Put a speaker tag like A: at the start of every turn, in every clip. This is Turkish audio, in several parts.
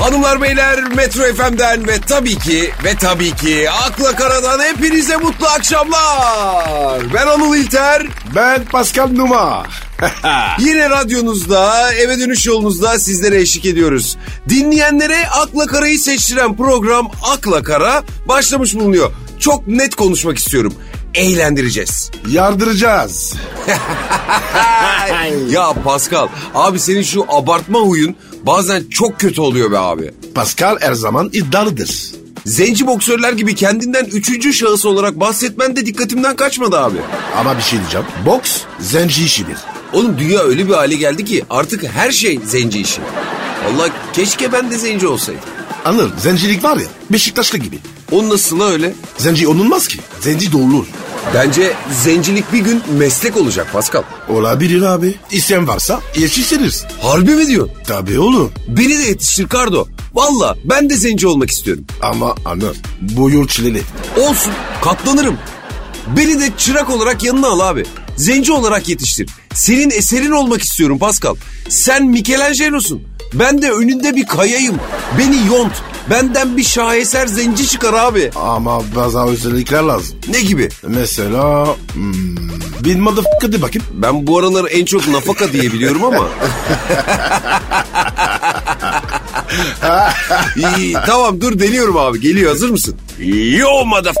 A: Hanımlar beyler Metro FM'den ve tabii ki ve tabii ki Akla Karadan hepinize mutlu akşamlar. Ben Anıl İlter.
B: Ben Pascal Numa.
A: Yine radyonuzda eve dönüş yolunuzda sizlere eşlik ediyoruz. Dinleyenlere Akla Kara'yı seçtiren program Akla Kara başlamış bulunuyor. Çok net konuşmak istiyorum. Eğlendireceğiz.
B: Yardıracağız.
A: ya Pascal abi senin şu abartma huyun bazen çok kötü oluyor be abi.
B: Pascal her zaman iddialıdır.
A: Zenci boksörler gibi kendinden üçüncü şahıs olarak bahsetmen de dikkatimden kaçmadı abi.
B: Ama bir şey diyeceğim. Boks zenci işidir.
A: Oğlum dünya öyle bir hale geldi ki artık her şey zenci işi. Allah keşke ben de zenci olsaydım.
B: Anır zencilik var ya Beşiktaşlı gibi.
A: O nasıl la öyle?
B: Zenci olunmaz ki. Zenci doğulur.
A: Bence zencilik bir gün meslek olacak Pascal.
B: Olabilir abi. İsteyen varsa yetiştiririz.
A: Harbi mi diyorsun?
B: Tabii oğlum.
A: Beni de yetiştir Kardo. Valla ben de zenci olmak istiyorum.
B: Ama Anır bu yol çileli.
A: Olsun katlanırım. Beni de çırak olarak yanına al abi. Zenci olarak yetiştir. Senin eserin olmak istiyorum Pascal. Sen Michelangelo'sun. Ben de önünde bir kayayım. Beni yont. Benden bir şaheser zenci çıkar abi.
B: Ama bazı özellikler lazım.
A: Ne gibi?
B: Mesela... Hmm, bir motherfucker de bakayım.
A: Ben bu aralar en çok nafaka diye biliyorum ama. İyi, tamam dur deniyorum abi. Geliyor hazır mısın? Yo motherf...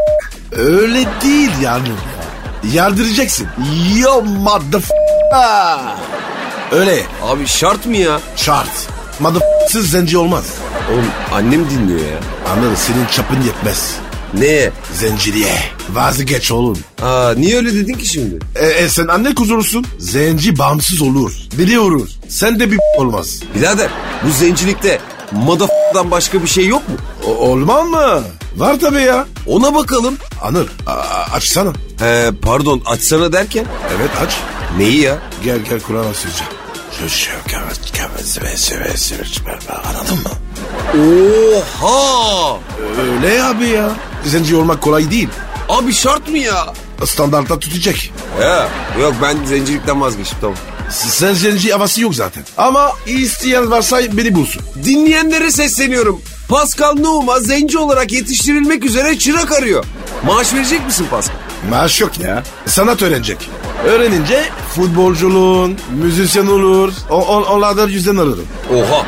B: Öyle değil yani. Yardıracaksın. Yo motherf... Öyle
A: Abi şart mı ya?
B: şart. Motherf***'sız zenci olmaz.
A: Oğlum annem dinliyor ya.
B: Anır senin çapın yetmez.
A: Ne?
B: Zenciliğe. Vazgeç oğlum.
A: Aa, niye öyle dedin ki şimdi?
B: E, e, sen anne kuzurusun. Zenci bağımsız olur. Biliyoruz. Sen de bir olmaz.
A: Birader bu zencilikte motherf***dan başka bir şey yok mu?
B: O, olmaz mı? Var tabii ya.
A: Ona bakalım.
B: Anır a- a- açsana.
A: He, pardon açsana derken.
B: Evet aç.
A: Neyi ya?
B: Gel gel Kur'an okuyacağım. Anladın mı?
A: Oha!
B: Öyle abi ya. Zenci olmak kolay değil.
A: Abi şart mı ya?
B: Standartta tutacak.
A: He, yok ben zencilikten vazgeçtim tamam.
B: Sen zenci havası yok zaten. Ama isteyen varsa beni bulsun.
A: Dinleyenlere sesleniyorum. Pascal Numa zenci olarak yetiştirilmek üzere çırak arıyor. Maaş verecek misin Pascal?
B: Maaş yok ya. Sanat öğrenecek. Öğrenince futbolculuğun, müzisyen olur. O, on, onlardan yüzden alırım.
A: Oha!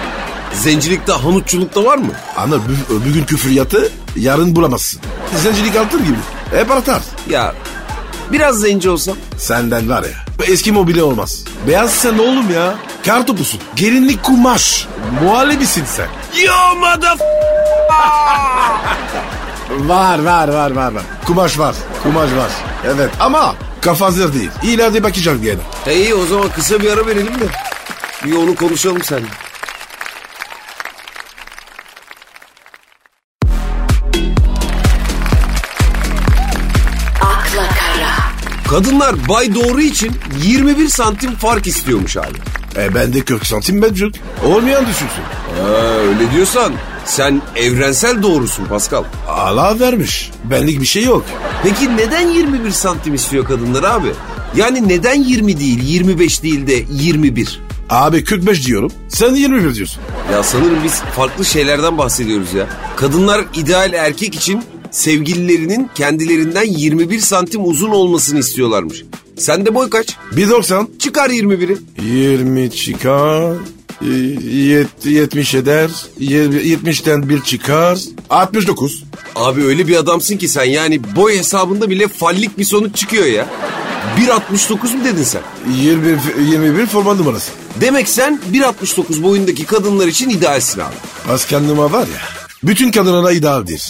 A: Zencilikte hanutçulukta var mı?
B: Anır bü- bugün küfriyatı yarın bulamazsın. Zencilik altın gibi. Hep artar.
A: Ya biraz zenci olsam.
B: Senden var ya. bu Eski mobilya olmaz. Beyaz sen oğlum ya. Kar topusun. Gelinlik kumaş. Muhallebisin sen.
A: Yo motherf...
B: Var var var var var. Kumaş var. Kumaş var. Evet ama kafa hazır değil. İleride bakacağım gene.
A: E iyi o zaman kısa bir ara verelim de. Bir onu konuşalım sen.
C: Akla Kara.
A: Kadınlar Bay Doğru için 21 santim fark istiyormuş abi.
B: E ben de 40 santim mevcut. Olmayan düşünsün.
A: Ha, öyle diyorsan sen evrensel doğrusun Pascal.
B: Allah vermiş. Benlik bir şey yok.
A: Peki neden 21 santim istiyor kadınlar abi? Yani neden 20 değil 25 değil de 21?
B: Abi 45 diyorum. Sen 21 diyorsun.
A: Ya sanırım biz farklı şeylerden bahsediyoruz ya. Kadınlar ideal erkek için sevgililerinin kendilerinden 21 santim uzun olmasını istiyorlarmış. Sen de boy kaç?
B: 1.90.
A: Çıkar 21'i.
B: 20 çıkar. y- Yet, 70 eder. Yir- 70'ten 1 çıkar. 69.
A: Abi öyle bir adamsın ki sen yani boy hesabında bile fallik bir sonuç çıkıyor ya. 1.69 mu dedin sen?
B: 20, 21 forma numarası.
A: Demek sen 1.69 boyundaki kadınlar için idealsin abi.
B: Pascal Numa var ya. Bütün kadınlara idealdir.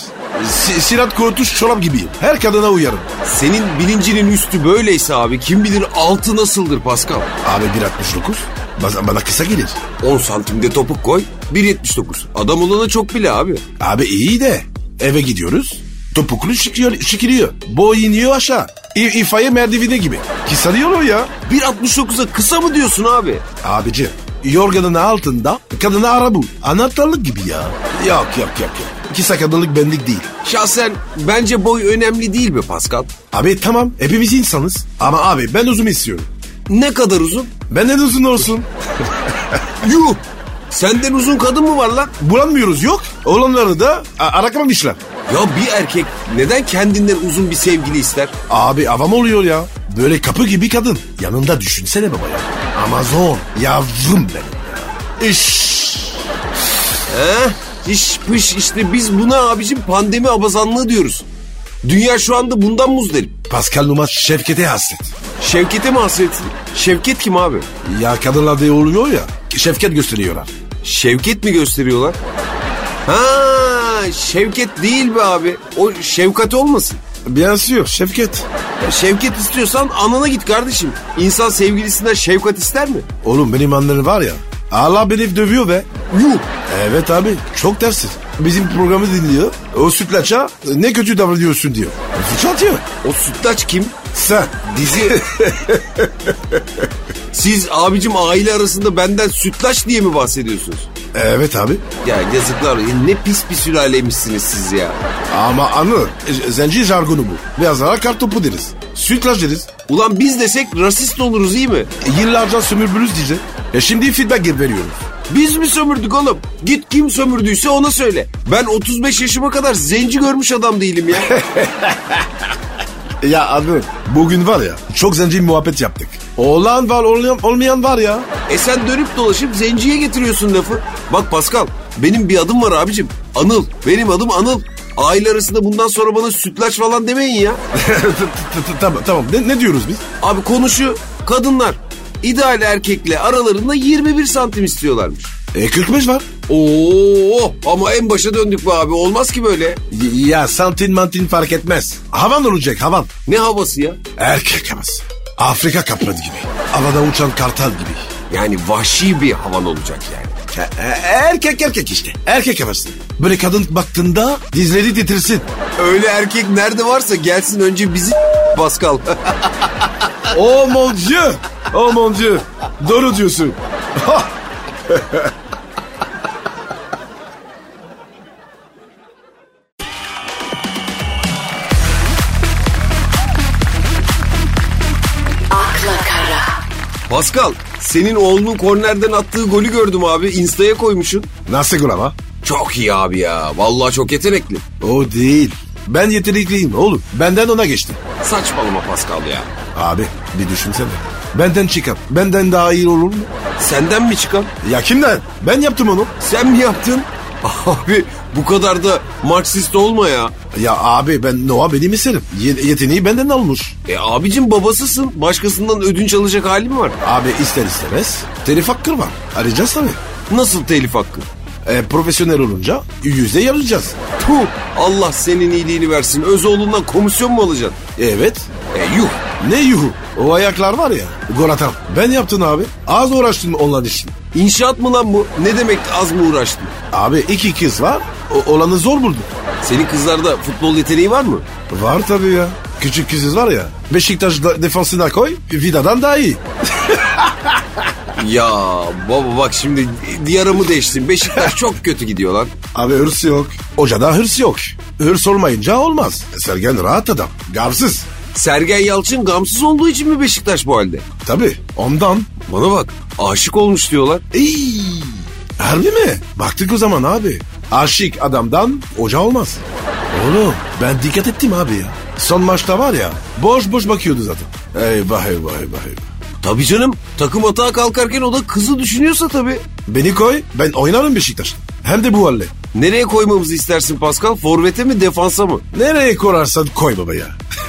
B: Si- Sirat kurutuş çorap gibiyim. Her kadına uyarım.
A: Senin bilincinin üstü böyleyse abi kim bilir altı nasıldır Pascal?
B: Abi 1.69. Baz- Bana kısa gelir.
A: 10 santimde topuk koy 1.79. Adam olana çok bile abi.
B: Abi iyi de eve gidiyoruz. Topuklu şıkıyor, şıkiliyor. Boy iniyor aşağı. İ, ifaya merdivine gibi. Ki sanıyor o ya.
A: 1.69'a kısa mı diyorsun abi?
B: Abici yorganın altında kadını ara bul. Anahtarlık gibi ya. Yok yok yok yok. Ki sakatlık benlik değil.
A: Şahsen bence boy önemli değil be Pascal.
B: Abi tamam hepimiz insanız. Ama abi ben uzun istiyorum.
A: Ne kadar uzun?
B: Benden uzun olsun.
A: Yuh! Senden uzun kadın mı var lan?
B: Bulamıyoruz yok. Olanları da a- arakamamışlar.
A: Ya bir erkek neden kendinden uzun bir sevgili ister?
B: Abi avam oluyor ya. Böyle kapı gibi kadın. Yanında düşünsene baba ya. Amazon yavrum benim. İş.
A: He? İş pış işte biz buna abicim pandemi abazanlığı diyoruz. Dünya şu anda bundan muzdarip.
B: Pascal Numa Şevket'e hasret.
A: Şevket'e mi hasretsin? Şevket kim abi?
B: Ya kadınlar diye oluyor ya. Şevket gösteriyorlar.
A: Şevket mi gösteriyorlar? Ha, Şevket değil be abi. O Şevkat olmasın.
B: Benziyor Şevket.
A: Ya Şevket istiyorsan anana git kardeşim. İnsan sevgilisinden şefkat ister mi?
B: Oğlum benim annem var ya. Allah beni dövüyor be.
A: Yuh.
B: Evet abi çok dersiz. Bizim programı dinliyor. O sütlaça ne kötü davranıyorsun diyor. Fıçı atıyor.
A: O sütlaç kim?
B: Sen.
A: Dizi. Siz abicim aile arasında benden sütlaç diye mi bahsediyorsunuz?
B: Evet abi.
A: Ya yazıklar olsun. Ne pis bir sülaleymişsiniz siz ya.
B: Ama anı e, zenci jargonu bu. Beyazlara kartopu deriz. Sütlaç deriz.
A: Ulan biz desek rasist oluruz iyi mi?
B: E, Yıllarca sömürbülüz diye. E şimdi feedback gibi veriyoruz.
A: Biz mi sömürdük oğlum? Git kim sömürdüyse ona söyle. Ben 35 yaşıma kadar zenci görmüş adam değilim ya.
B: E, Ya abi bugün var ya çok zenci muhabbet yaptık. Olan var olmayan, olmayan var ya.
A: e sen dönüp dolaşıp zenciye getiriyorsun lafı. Bak Pascal benim bir adım var abicim. Anıl. Benim adım Anıl. Aile arasında bundan sonra bana sütlaç falan demeyin ya.
B: tamam tamam ne, ne diyoruz biz?
A: Abi konuşu kadınlar ideal erkekle aralarında 21 santim istiyorlarmış.
B: E 45 var.
A: Oo ama en başa döndük be abi olmaz ki böyle.
B: Y- Ya santin mantin fark etmez. Havan olacak havan.
A: Ne havası ya?
B: Erkek havası. Afrika kaplanı gibi. Havada uçan kartal gibi.
A: Yani vahşi bir havan olacak yani.
B: E- e- Erkek erkek işte. Erkek havası. Böyle kadın baktığında dizleri titirsin.
A: Öyle erkek nerede varsa gelsin önce bizi Pascal.
B: oh mon dieu. Oh mon dieu. Doğru diyorsun.
C: akla kara,
A: Pascal senin oğlunun kornerden attığı golü gördüm abi. Insta'ya koymuşsun.
B: Nasıl gol ama?
A: Çok iyi abi ya. Vallahi çok yetenekli.
B: O değil. Ben yetenekliyim oğlum. Benden ona geçti.
A: Saçmalama Pascal ya.
B: Abi bir düşünsene. Benden çıkan benden daha iyi olur mu?
A: Senden mi çıkan?
B: Ya kimden? Ben yaptım onu.
A: Sen mi yaptın? Abi bu kadar da Marksist olma ya.
B: Ya abi ben Noah benim eserim. Ye- yeteneği benden almış.
A: E abicim babasısın. Başkasından ödünç alacak halim var.
B: Abi ister istemez telif hakkı var. Arayacağız tabii.
A: Nasıl telif hakkı?
B: E, profesyonel olunca yüzde yarayacağız.
A: Puh, Allah senin iyiliğini versin. Özoğlundan komisyon mu alacaksın?
B: Evet.
A: E yuh.
B: Ne yuhu. O ayaklar var ya. Gol atan. Ben yaptın abi. Az uğraştın onların için.
A: İnşaat mı lan bu? Ne demek az mı uğraştın?
B: Abi iki kız var. O, olanı zor buldum.
A: Senin kızlarda futbol yeteneği var mı?
B: Var tabii ya. Küçük kızız var ya. Beşiktaş da- defansına koy. Vida'dan daha iyi.
A: Ya baba bak şimdi yaramı değiştin. Beşiktaş çok kötü gidiyor lan.
B: Abi hırs yok. Hocada hırs yok. Hırs olmayınca olmaz. Sergen rahat adam. Gavsız.
A: Sergen Yalçın gamsız olduğu için mi Beşiktaş bu halde?
B: Tabii ondan.
A: Bana bak aşık olmuş diyorlar.
B: Ey, harbi mi? Baktık o zaman abi. Aşık adamdan hoca olmaz. Oğlum ben dikkat ettim abi ya. Son maçta var ya boş boş bakıyordu zaten. Eyvah eyvah eyvah eyvah.
A: Tabii canım takım atağa kalkarken o da kızı düşünüyorsa tabii.
B: Beni koy ben oynarım Beşiktaş. Hem de bu halle.
A: Nereye koymamızı istersin Pascal? Forvete mi defansa mı?
B: Nereye korarsan koy baba ya.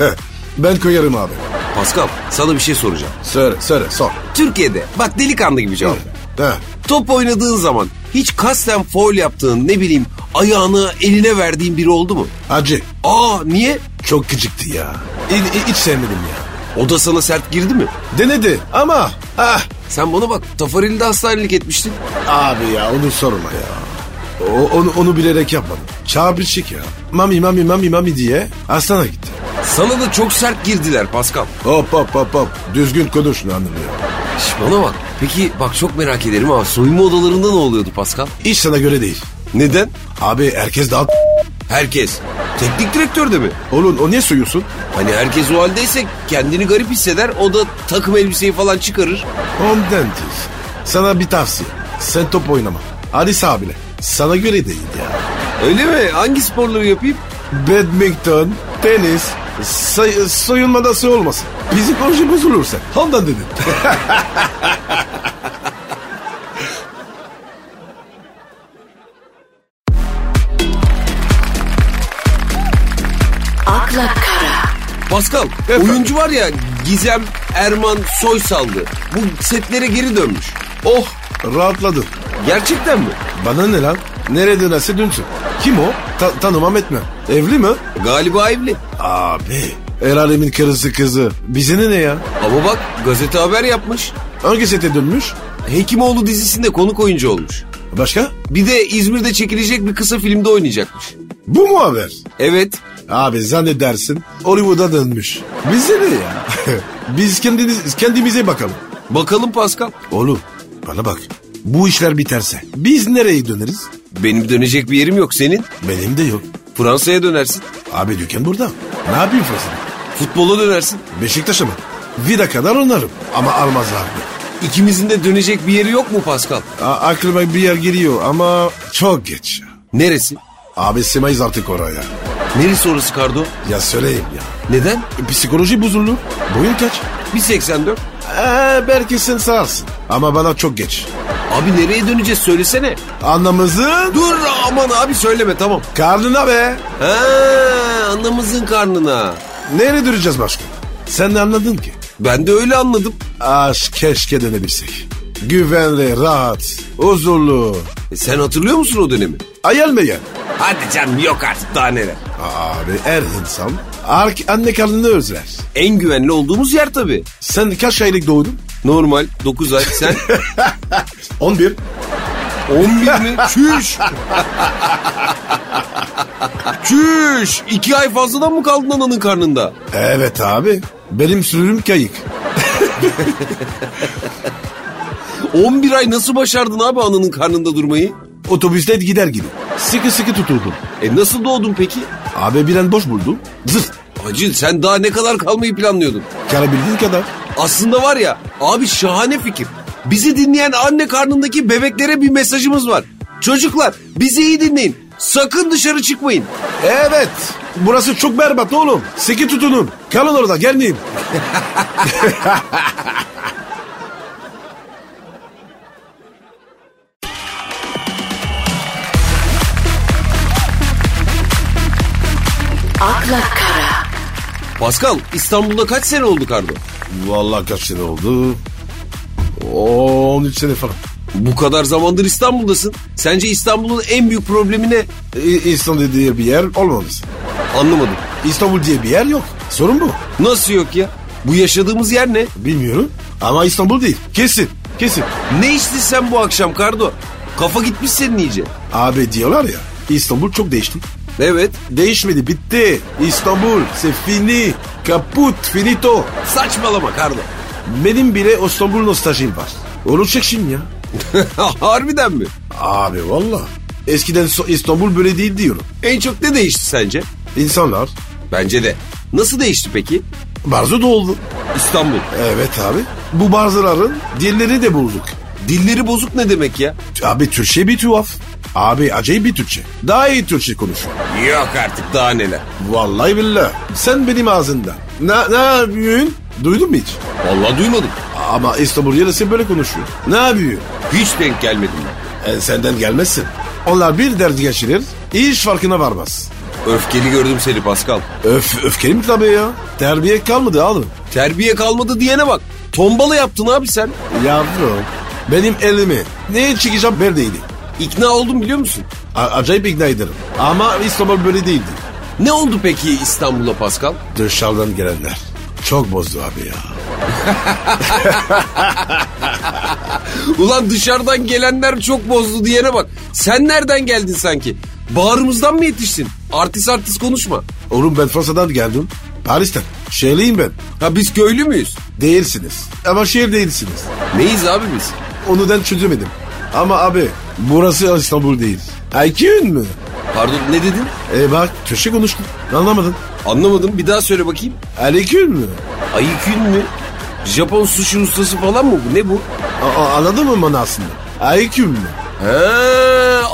B: ben koyarım abi.
A: Pascal sana bir şey soracağım.
B: Söyle söyle sor.
A: Türkiye'de bak delikanlı gibi cevap. ver.
B: Ha.
A: Top oynadığın zaman hiç kasten foul yaptığın ne bileyim ayağını eline verdiğin biri oldu mu?
B: Acı
A: Aa niye?
B: çok gıcıktı ya. İ- i- hiç sevmedim ya.
A: O da sana sert girdi mi?
B: Denedi ama ah
A: Sen bana bak Tafarel'de hastanelik etmiştin.
B: Abi ya onu sorma ya. O, onu, onu bilerek yapmadım. Çarpışık ya. Mami mami mami mami diye hastana gitti.
A: Sana da çok sert girdiler Pascal.
B: Hop hop hop hop. Düzgün konuş lan ya.
A: Şş, bana bak. Peki bak çok merak ederim ama soyunma odalarında ne oluyordu Pascal?
B: Hiç sana göre değil.
A: Neden?
B: Abi herkes daha...
A: Herkes. Teknik direktör de mi?
B: Oğlum o niye soyuyorsun?
A: Hani herkes o haldeyse kendini garip hisseder. O da takım elbiseyi falan çıkarır.
B: Ondan değil. Sana bir tavsiye. Sen top oynama. Halis abine. Sana göre değil ya.
A: Öyle mi? Hangi sporları yapayım?
B: Badminton, tenis, say- soyunma da soy olmasın. Psikoloji bozulursa. Ondan dedim.
C: akla kara,
A: Pascal
B: Efendim?
A: oyuncu var ya Gizem Erman Soysal'dı. Bu setlere geri dönmüş.
B: oh rahatladım.
A: Gerçekten mi?
B: Bana ne lan? Nereye dönerse dönsün. Kim o? Ta- tanımam etmem. Evli mi?
A: Galiba evli.
B: Abi. El alemin karısı kızı. Bize ne ne ya?
A: Ama bak gazete haber yapmış.
B: Hangi sete dönmüş?
A: Hekimoğlu dizisinde konuk oyuncu olmuş.
B: Başka?
A: Bir de İzmir'de çekilecek bir kısa filmde oynayacakmış.
B: Bu mu haber?
A: Evet.
B: Abi zannedersin Hollywood'a dönmüş. Bize ne ya? Biz kendimiz, kendimize bakalım.
A: Bakalım Pascal.
B: Oğlum bana bak. Bu işler biterse biz nereye döneriz?
A: Benim dönecek bir yerim yok senin.
B: Benim de yok.
A: Fransa'ya dönersin.
B: Abi dükkan burada. Ne yapayım fırsatı?
A: Futbola dönersin.
B: Beşiktaş'a mı? Vida kadar oynarım. Ama almazlar beni.
A: İkimizin de dönecek bir yeri yok mu Pascal?
B: A- aklıma bir yer geliyor ama çok geç. ya.
A: Neresi?
B: Abi simayız artık oraya.
A: Neresi orası Kardo?
B: Ya söyleyeyim ya. E,
A: Neden?
B: Psikoloji bozuldu. Boyun kaç?
A: 1.84.
B: Ee, belki sen sararsın. Ama bana çok geç.
A: Abi nereye döneceğiz söylesene.
B: Anlamızın
A: Dur aman abi söyleme tamam.
B: karnına be.
A: Ha anamızın karnına.
B: Nereye duracağız başka? Sen de anladın ki.
A: Ben de öyle anladım.
B: Aşk keşke denebilsek. Güvenli, rahat, huzurlu.
A: E, sen hatırlıyor musun o dönemi?
B: Hayal meyal.
A: Hadi canım yok artık daha neler.
B: Abi her insan ark anne karnını özler.
A: En güvenli olduğumuz yer tabii.
B: Sen kaç aylık doğdun?
A: Normal 9 ay sen
B: 11.
A: 11 mi? Çüş. Çüş. 2 ay fazladan mı kaldın ananın karnında?
B: Evet abi. Benim sürüm kayık.
A: 11 ay nasıl başardın abi ananın karnında durmayı?
B: Otobüste gider gibi. Sıkı sıkı tutuldum.
A: E nasıl doğdun peki?
B: Abi bir an boş buldum. Zırt.
A: Acil sen daha ne kadar kalmayı planlıyordun?
B: Karabildiğin kadar.
A: Aslında var ya abi şahane fikir. Bizi dinleyen anne karnındaki bebeklere bir mesajımız var. Çocuklar bizi iyi dinleyin. Sakın dışarı çıkmayın.
B: Evet. Burası çok berbat oğlum. Sıkı tutunun. Kalın orada gelmeyin.
C: akla kara,
A: Pascal İstanbul'da kaç sene oldu Kardo?
B: Vallahi kaç sene oldu? 13 sene falan.
A: Bu kadar zamandır İstanbul'dasın. Sence İstanbul'un en büyük problemi ne?
B: İ- İstanbul diye bir yer olmamış.
A: Anlamadım.
B: İstanbul diye bir yer yok. Sorun bu.
A: Nasıl yok ya? Bu yaşadığımız yer ne?
B: Bilmiyorum. Ama İstanbul değil. Kesin. Kesin.
A: Ne içtin sen bu akşam Kardo? Kafa gitmiş senin iyice.
B: Abi diyorlar ya İstanbul çok değişti.
A: Evet.
B: Değişmedi bitti. İstanbul c'est fini. Kaput finito.
A: Saçmalama Kardo.
B: Benim bile İstanbul nostaljim var. Onu çek şimdi ya.
A: Harbiden mi?
B: Abi valla. Eskiden so- İstanbul böyle değil diyorum.
A: En çok ne değişti sence?
B: İnsanlar
A: Bence de. Nasıl değişti peki?
B: barzo doldu.
A: İstanbul.
B: Evet abi. Bu barzoların diğerleri de bulduk.
A: Dilleri bozuk ne demek ya?
B: Abi Türkçe bir tuhaf. Abi acayip bir Türkçe. Daha iyi Türkçe konuşuyor.
A: Yok artık daha neler.
B: Vallahi billah. Sen benim ağzımdan. Ne, ne yapıyorsun? Duydun mu hiç?
A: Vallahi duymadım.
B: Ama İstanbul yarısı böyle konuşuyor. Ne yapıyor?
A: Hiç denk gelmedim ben.
B: E, senden gelmezsin. Onlar bir dert geçirir, iş farkına varmaz.
A: Öfkeli gördüm seni Pascal.
B: Öf, öfkeli mi tabii ya? Terbiye kalmadı oğlum.
A: Terbiye kalmadı diyene bak. Tombala yaptın abi sen.
B: Yavrum, benim elimi neye çıkacağım ben değilim.
A: İkna oldum biliyor musun?
B: A- acayip ikna ederim. Ama İstanbul böyle değildi.
A: Ne oldu peki İstanbul'a Pascal?
B: Dışarıdan gelenler çok bozdu abi ya.
A: Ulan dışarıdan gelenler çok bozdu diyene bak. Sen nereden geldin sanki? Bağrımızdan mı yetiştin? Artist artist konuşma.
B: Oğlum ben Fransa'dan geldim. Paris'ten. Şehirliyim ben.
A: Ha biz köylü müyüz?
B: Değilsiniz. Ama şehir değilsiniz.
A: Neyiz abi biz?
B: Onu ben çözemedim. Ama abi burası İstanbul değil. Aykün mü?
A: Pardon ne dedin?
B: E bak Türkçe konuştum. Anlamadın.
A: Anlamadım bir daha söyle bakayım.
B: Aleyküm mü?
A: Ayıkün mü? Japon sushi ustası falan mı bu? Ne bu?
B: A- a- anladın mı manasını? Aleyküm mü?
A: He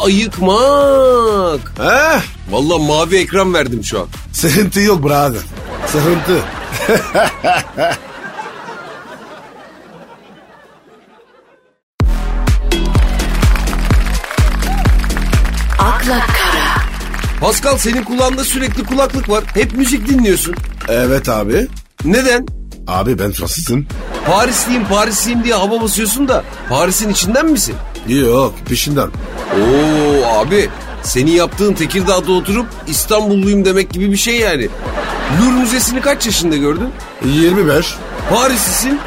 A: ayıkmak.
B: Heh,
A: Valla mavi ekran verdim şu an.
B: sıkıntı yok brother. Sıkıntı.
C: akla kara,
A: Pascal senin kulağında sürekli kulaklık var. Hep müzik dinliyorsun.
B: Evet abi.
A: Neden?
B: Abi ben Fransızım.
A: Parisliyim Parisliyim diye hava basıyorsun da Paris'in içinden misin?
B: Yok peşinden.
A: Oo abi senin yaptığın Tekirdağ'da oturup İstanbulluyum demek gibi bir şey yani. Louvre Müzesi'ni kaç yaşında gördün?
B: 25.
A: Parislisin.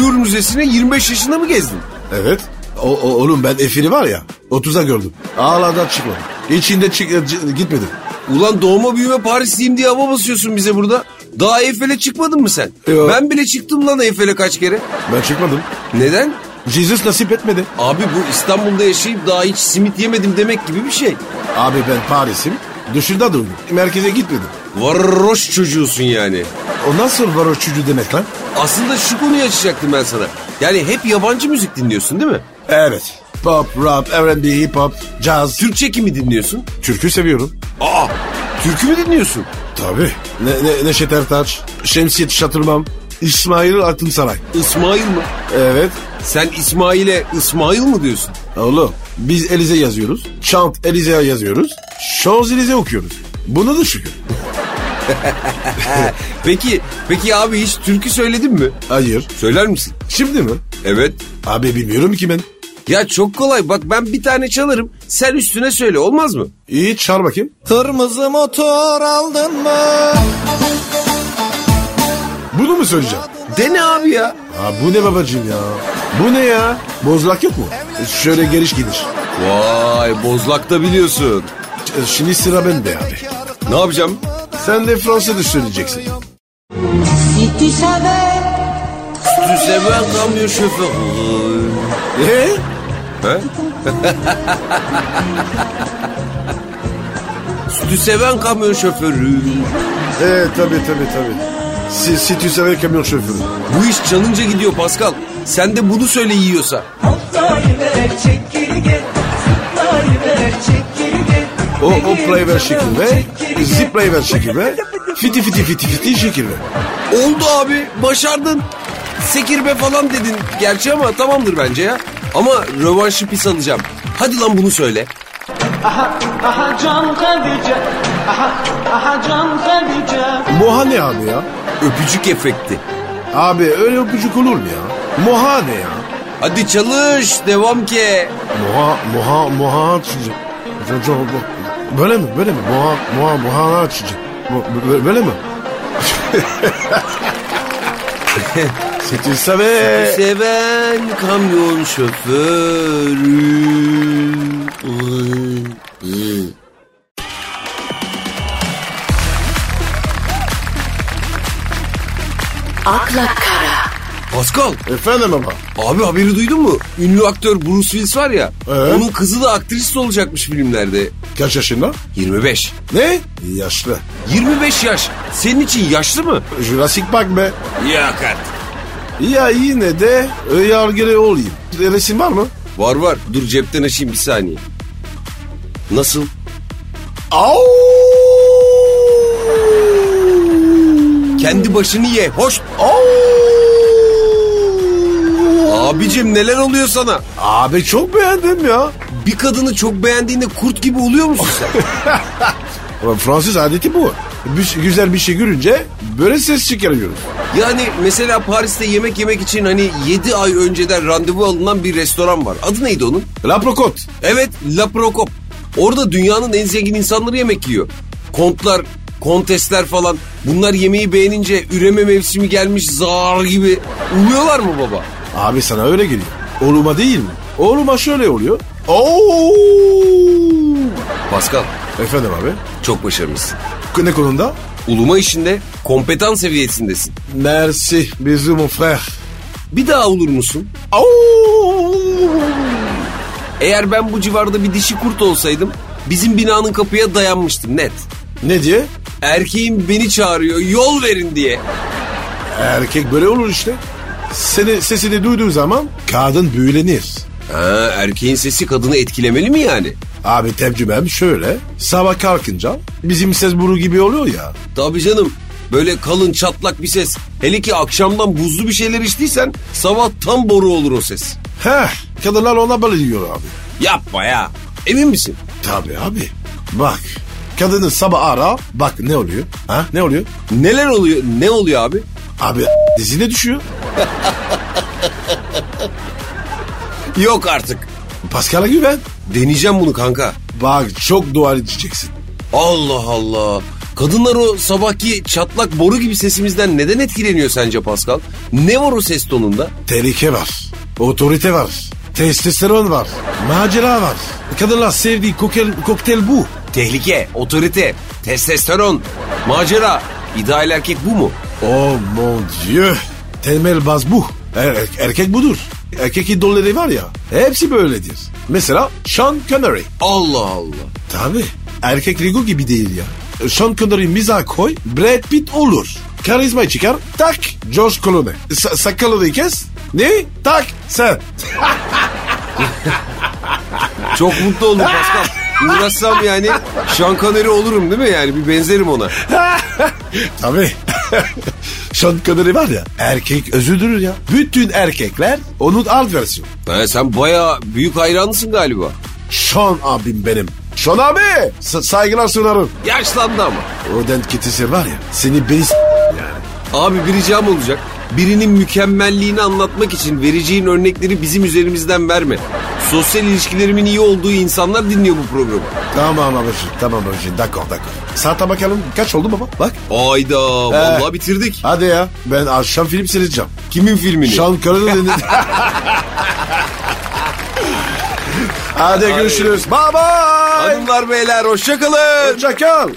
A: Louvre Müzesi'ni 25 yaşında mı gezdin?
B: Evet. O, o- oğlum ben Efir'i var ya 30'a gördüm. Ağlardan çıkmadım. İçinde çık, e, c- gitmedim.
A: Ulan doğma büyüme Parisliyim diye hava basıyorsun bize burada. Daha Eyfel'e çıkmadın mı sen?
B: Yok.
A: Ben bile çıktım lan Eyfel'e kaç kere.
B: Ben çıkmadım.
A: Neden?
B: Jesus nasip etmedi.
A: Abi bu İstanbul'da yaşayıp daha hiç simit yemedim demek gibi bir şey.
B: Abi ben Paris'im. Dışında durdum. Merkeze gitmedim.
A: Varroş çocuğusun yani.
B: O nasıl varoş çocuğu demek lan?
A: Aslında şu konuyu açacaktım ben sana. Yani hep yabancı müzik dinliyorsun değil mi?
B: Evet. Pop, rap, R&B, hip hop, caz.
A: Türkçe kimi dinliyorsun?
B: Türkü seviyorum.
A: Aa, türkü mü dinliyorsun?
B: Tabii. Ne, ne, Neşet Ertaç, Şemsiyet Şatırmam, İsmail Aklınsaray.
A: İsmail mi?
B: Evet.
A: Sen İsmail'e İsmail mı diyorsun?
B: Oğlum biz Elize yazıyoruz. Chant Elize yazıyoruz. Şoz Elize okuyoruz. Buna da şükür.
A: Peki, peki abi hiç türkü söyledin mi?
B: Hayır.
A: Söyler misin?
B: Şimdi mi?
A: Evet.
B: Abi bilmiyorum ki ben.
A: Ya çok kolay bak ben bir tane çalarım sen üstüne söyle olmaz mı?
B: İyi çağır bakayım.
D: Kırmızı motor aldın mı?
B: Bunu mu söyleyeceğim?
A: Dene abi ya.
B: Ha, bu ne babacığım ya? Bu ne ya? Bozlak yok mu? E, Şöyle geliş gidiş.
A: Vay bozlakta biliyorsun.
B: E, Şimdi sıra bende abi.
A: Ne yapacağım?
B: Sen de Fransızca söyleyeceksin.
E: Si tu savais,
A: Tu sever kamyon şoförü.
B: E?
A: He? Tu seven kamyon şoförü.
B: E tabi tabi tabi. Si, si tu savais kamyon şoförü.
A: Bu iş çalınca gidiyor Pascal. Sen de bunu söyle yiyorsa.
F: Hoplayıver çekirge Zıplayıver çekirge
B: O hoplayıver şekilde, ziplayıver şekilde, fiti fiti fiti fiti şekilde.
A: Oldu abi başardın. Sekirbe falan dedin gerçi ama tamamdır bence ya. Ama rövanşı pis alacağım. Hadi lan bunu söyle.
F: Aha aha can Hadice Aha aha can Hadice
B: Moha ne abi ya?
A: Öpücük efekti.
B: Abi öyle öpücük olur mu ya? Moha ne ya?
A: Hadi çalış devam ki.
B: Moha, moha, moha açıcı. Co- co- bu- Böyle mi, böyle mi? Moha, moha, moha açıcı. Bu- bu- Böyle mi? Sütü save.
A: Seven kamyon şoförü. Ay, ay.
C: akla kara,
A: Pascal
B: Efendim ama.
A: abi haberi duydun mu? Ünlü aktör Bruce Willis var ya.
B: Ee?
A: Onun kızı da aktrist olacakmış filmlerde.
B: Kaç yaşında?
A: 25.
B: Ne? Yaşlı.
A: 25 yaş. Senin için yaşlı mı?
B: Jurassic Park be.
A: Yok artık.
B: Ya yine de yargılı olayım. Resim var mı?
A: Var var. Dur cepten açayım bir saniye. Nasıl?
B: Au!
A: Kendi başını ye. Hoş. Abicim neler oluyor sana?
B: Abi çok beğendim ya.
A: Bir kadını çok beğendiğinde kurt gibi oluyor musun sen?
B: Fransız adeti bu. Bir- güzel bir şey görünce böyle ses çıkarıyoruz.
A: yani mesela Paris'te yemek yemek için hani 7 ay önceden randevu alınan bir restoran var. Adı neydi onun?
B: Laprokot.
A: Evet La Procop. Orada dünyanın en zengin insanları yemek yiyor. Kontlar, kontesler falan. Bunlar yemeği beğenince üreme mevsimi gelmiş zar gibi. Uluyorlar mı baba?
B: Abi sana öyle geliyor. Oğluma değil mi? Oğluma şöyle oluyor. Oo!
A: Pascal
B: Efendim abi.
A: çok başarılısın.
B: Ne konuda?
A: Uluma işinde kompetan seviyesindesin.
B: Merci. Bisous mon frère.
A: Bir daha olur musun?
B: Oo!
A: Eğer ben bu civarda bir dişi kurt olsaydım bizim binanın kapıya dayanmıştım net.
B: Ne diye?
A: Erkeğim beni çağırıyor yol verin diye.
B: Erkek böyle olur işte. Seni, sesini duyduğu zaman kadın büyülenir.
A: Ha, erkeğin sesi kadını etkilemeli mi yani?
B: Abi tecrübem şöyle. Sabah kalkınca bizim ses boru gibi oluyor ya.
A: Tabii canım. Böyle kalın çatlak bir ses. Hele ki akşamdan buzlu bir şeyler içtiysen sabah tam boru olur o ses.
B: Heh kadınlar ona bayılıyor abi.
A: Yapma ya. Emin misin?
B: Tabii abi. Bak kadını sabah ara bak ne oluyor? Ha ne oluyor?
A: Neler oluyor? Ne oluyor abi?
B: Abi dizine düşüyor.
A: Yok artık.
B: Pascal'a güven.
A: Deneyeceğim bunu kanka.
B: Bak çok dua edeceksin.
A: Allah Allah. Kadınlar o sabahki çatlak boru gibi sesimizden neden etkileniyor sence Pascal? Ne var o ses tonunda?
B: Tehlike var. Otorite var. Testosteron var. Macera var. Kadınlar sevdiği kokel, kokteyl bu.
A: Tehlike, otorite, testosteron, macera. İdeal erkek bu mu?
B: Oh mon dieu. Temel baz bu. Er- er- erkek budur. Erkek idolleri var ya. Hepsi böyledir. Mesela Sean Connery.
A: Allah Allah.
B: Tabi. Erkek Rigo gibi değil ya. Sean Connery miza koy. Brad Pitt olur. Karizmayı çıkar. Tak. George Clooney. Sa- sakalını kes. Ne? Tak. Sen.
A: Çok mutlu oldum Pascal. Uğraşsam yani Sean Connery olurum değil mi yani? Bir benzerim ona.
B: Tabi. Sean Connery var ya. Erkek özüdür ya. Bütün erkekler onun alt versiyonu.
A: Ha, sen baya büyük hayranısın galiba.
B: Sean abim benim. Sean abi. sa- saygılar sunarım.
A: Yaşlandı ama.
B: O dent kitisi var ya seni beni s-
A: Abi bir ricam olacak. Birinin mükemmelliğini anlatmak için vereceğin örnekleri bizim üzerimizden verme. Sosyal ilişkilerimin iyi olduğu insanlar dinliyor bu programı.
B: Tamam abicim tamam abicim d'accord d'accord. Saate bakalım kaç oldu baba bak.
A: Ayda vallahi bitirdik.
B: Hadi ya ben akşam film seyredeceğim.
A: Kimin filmini?
B: Sean Connery'nin. Hadi görüşürüz. Bye bye.
A: Hanımlar beyler hoşçakalın.
B: Hoşça kal.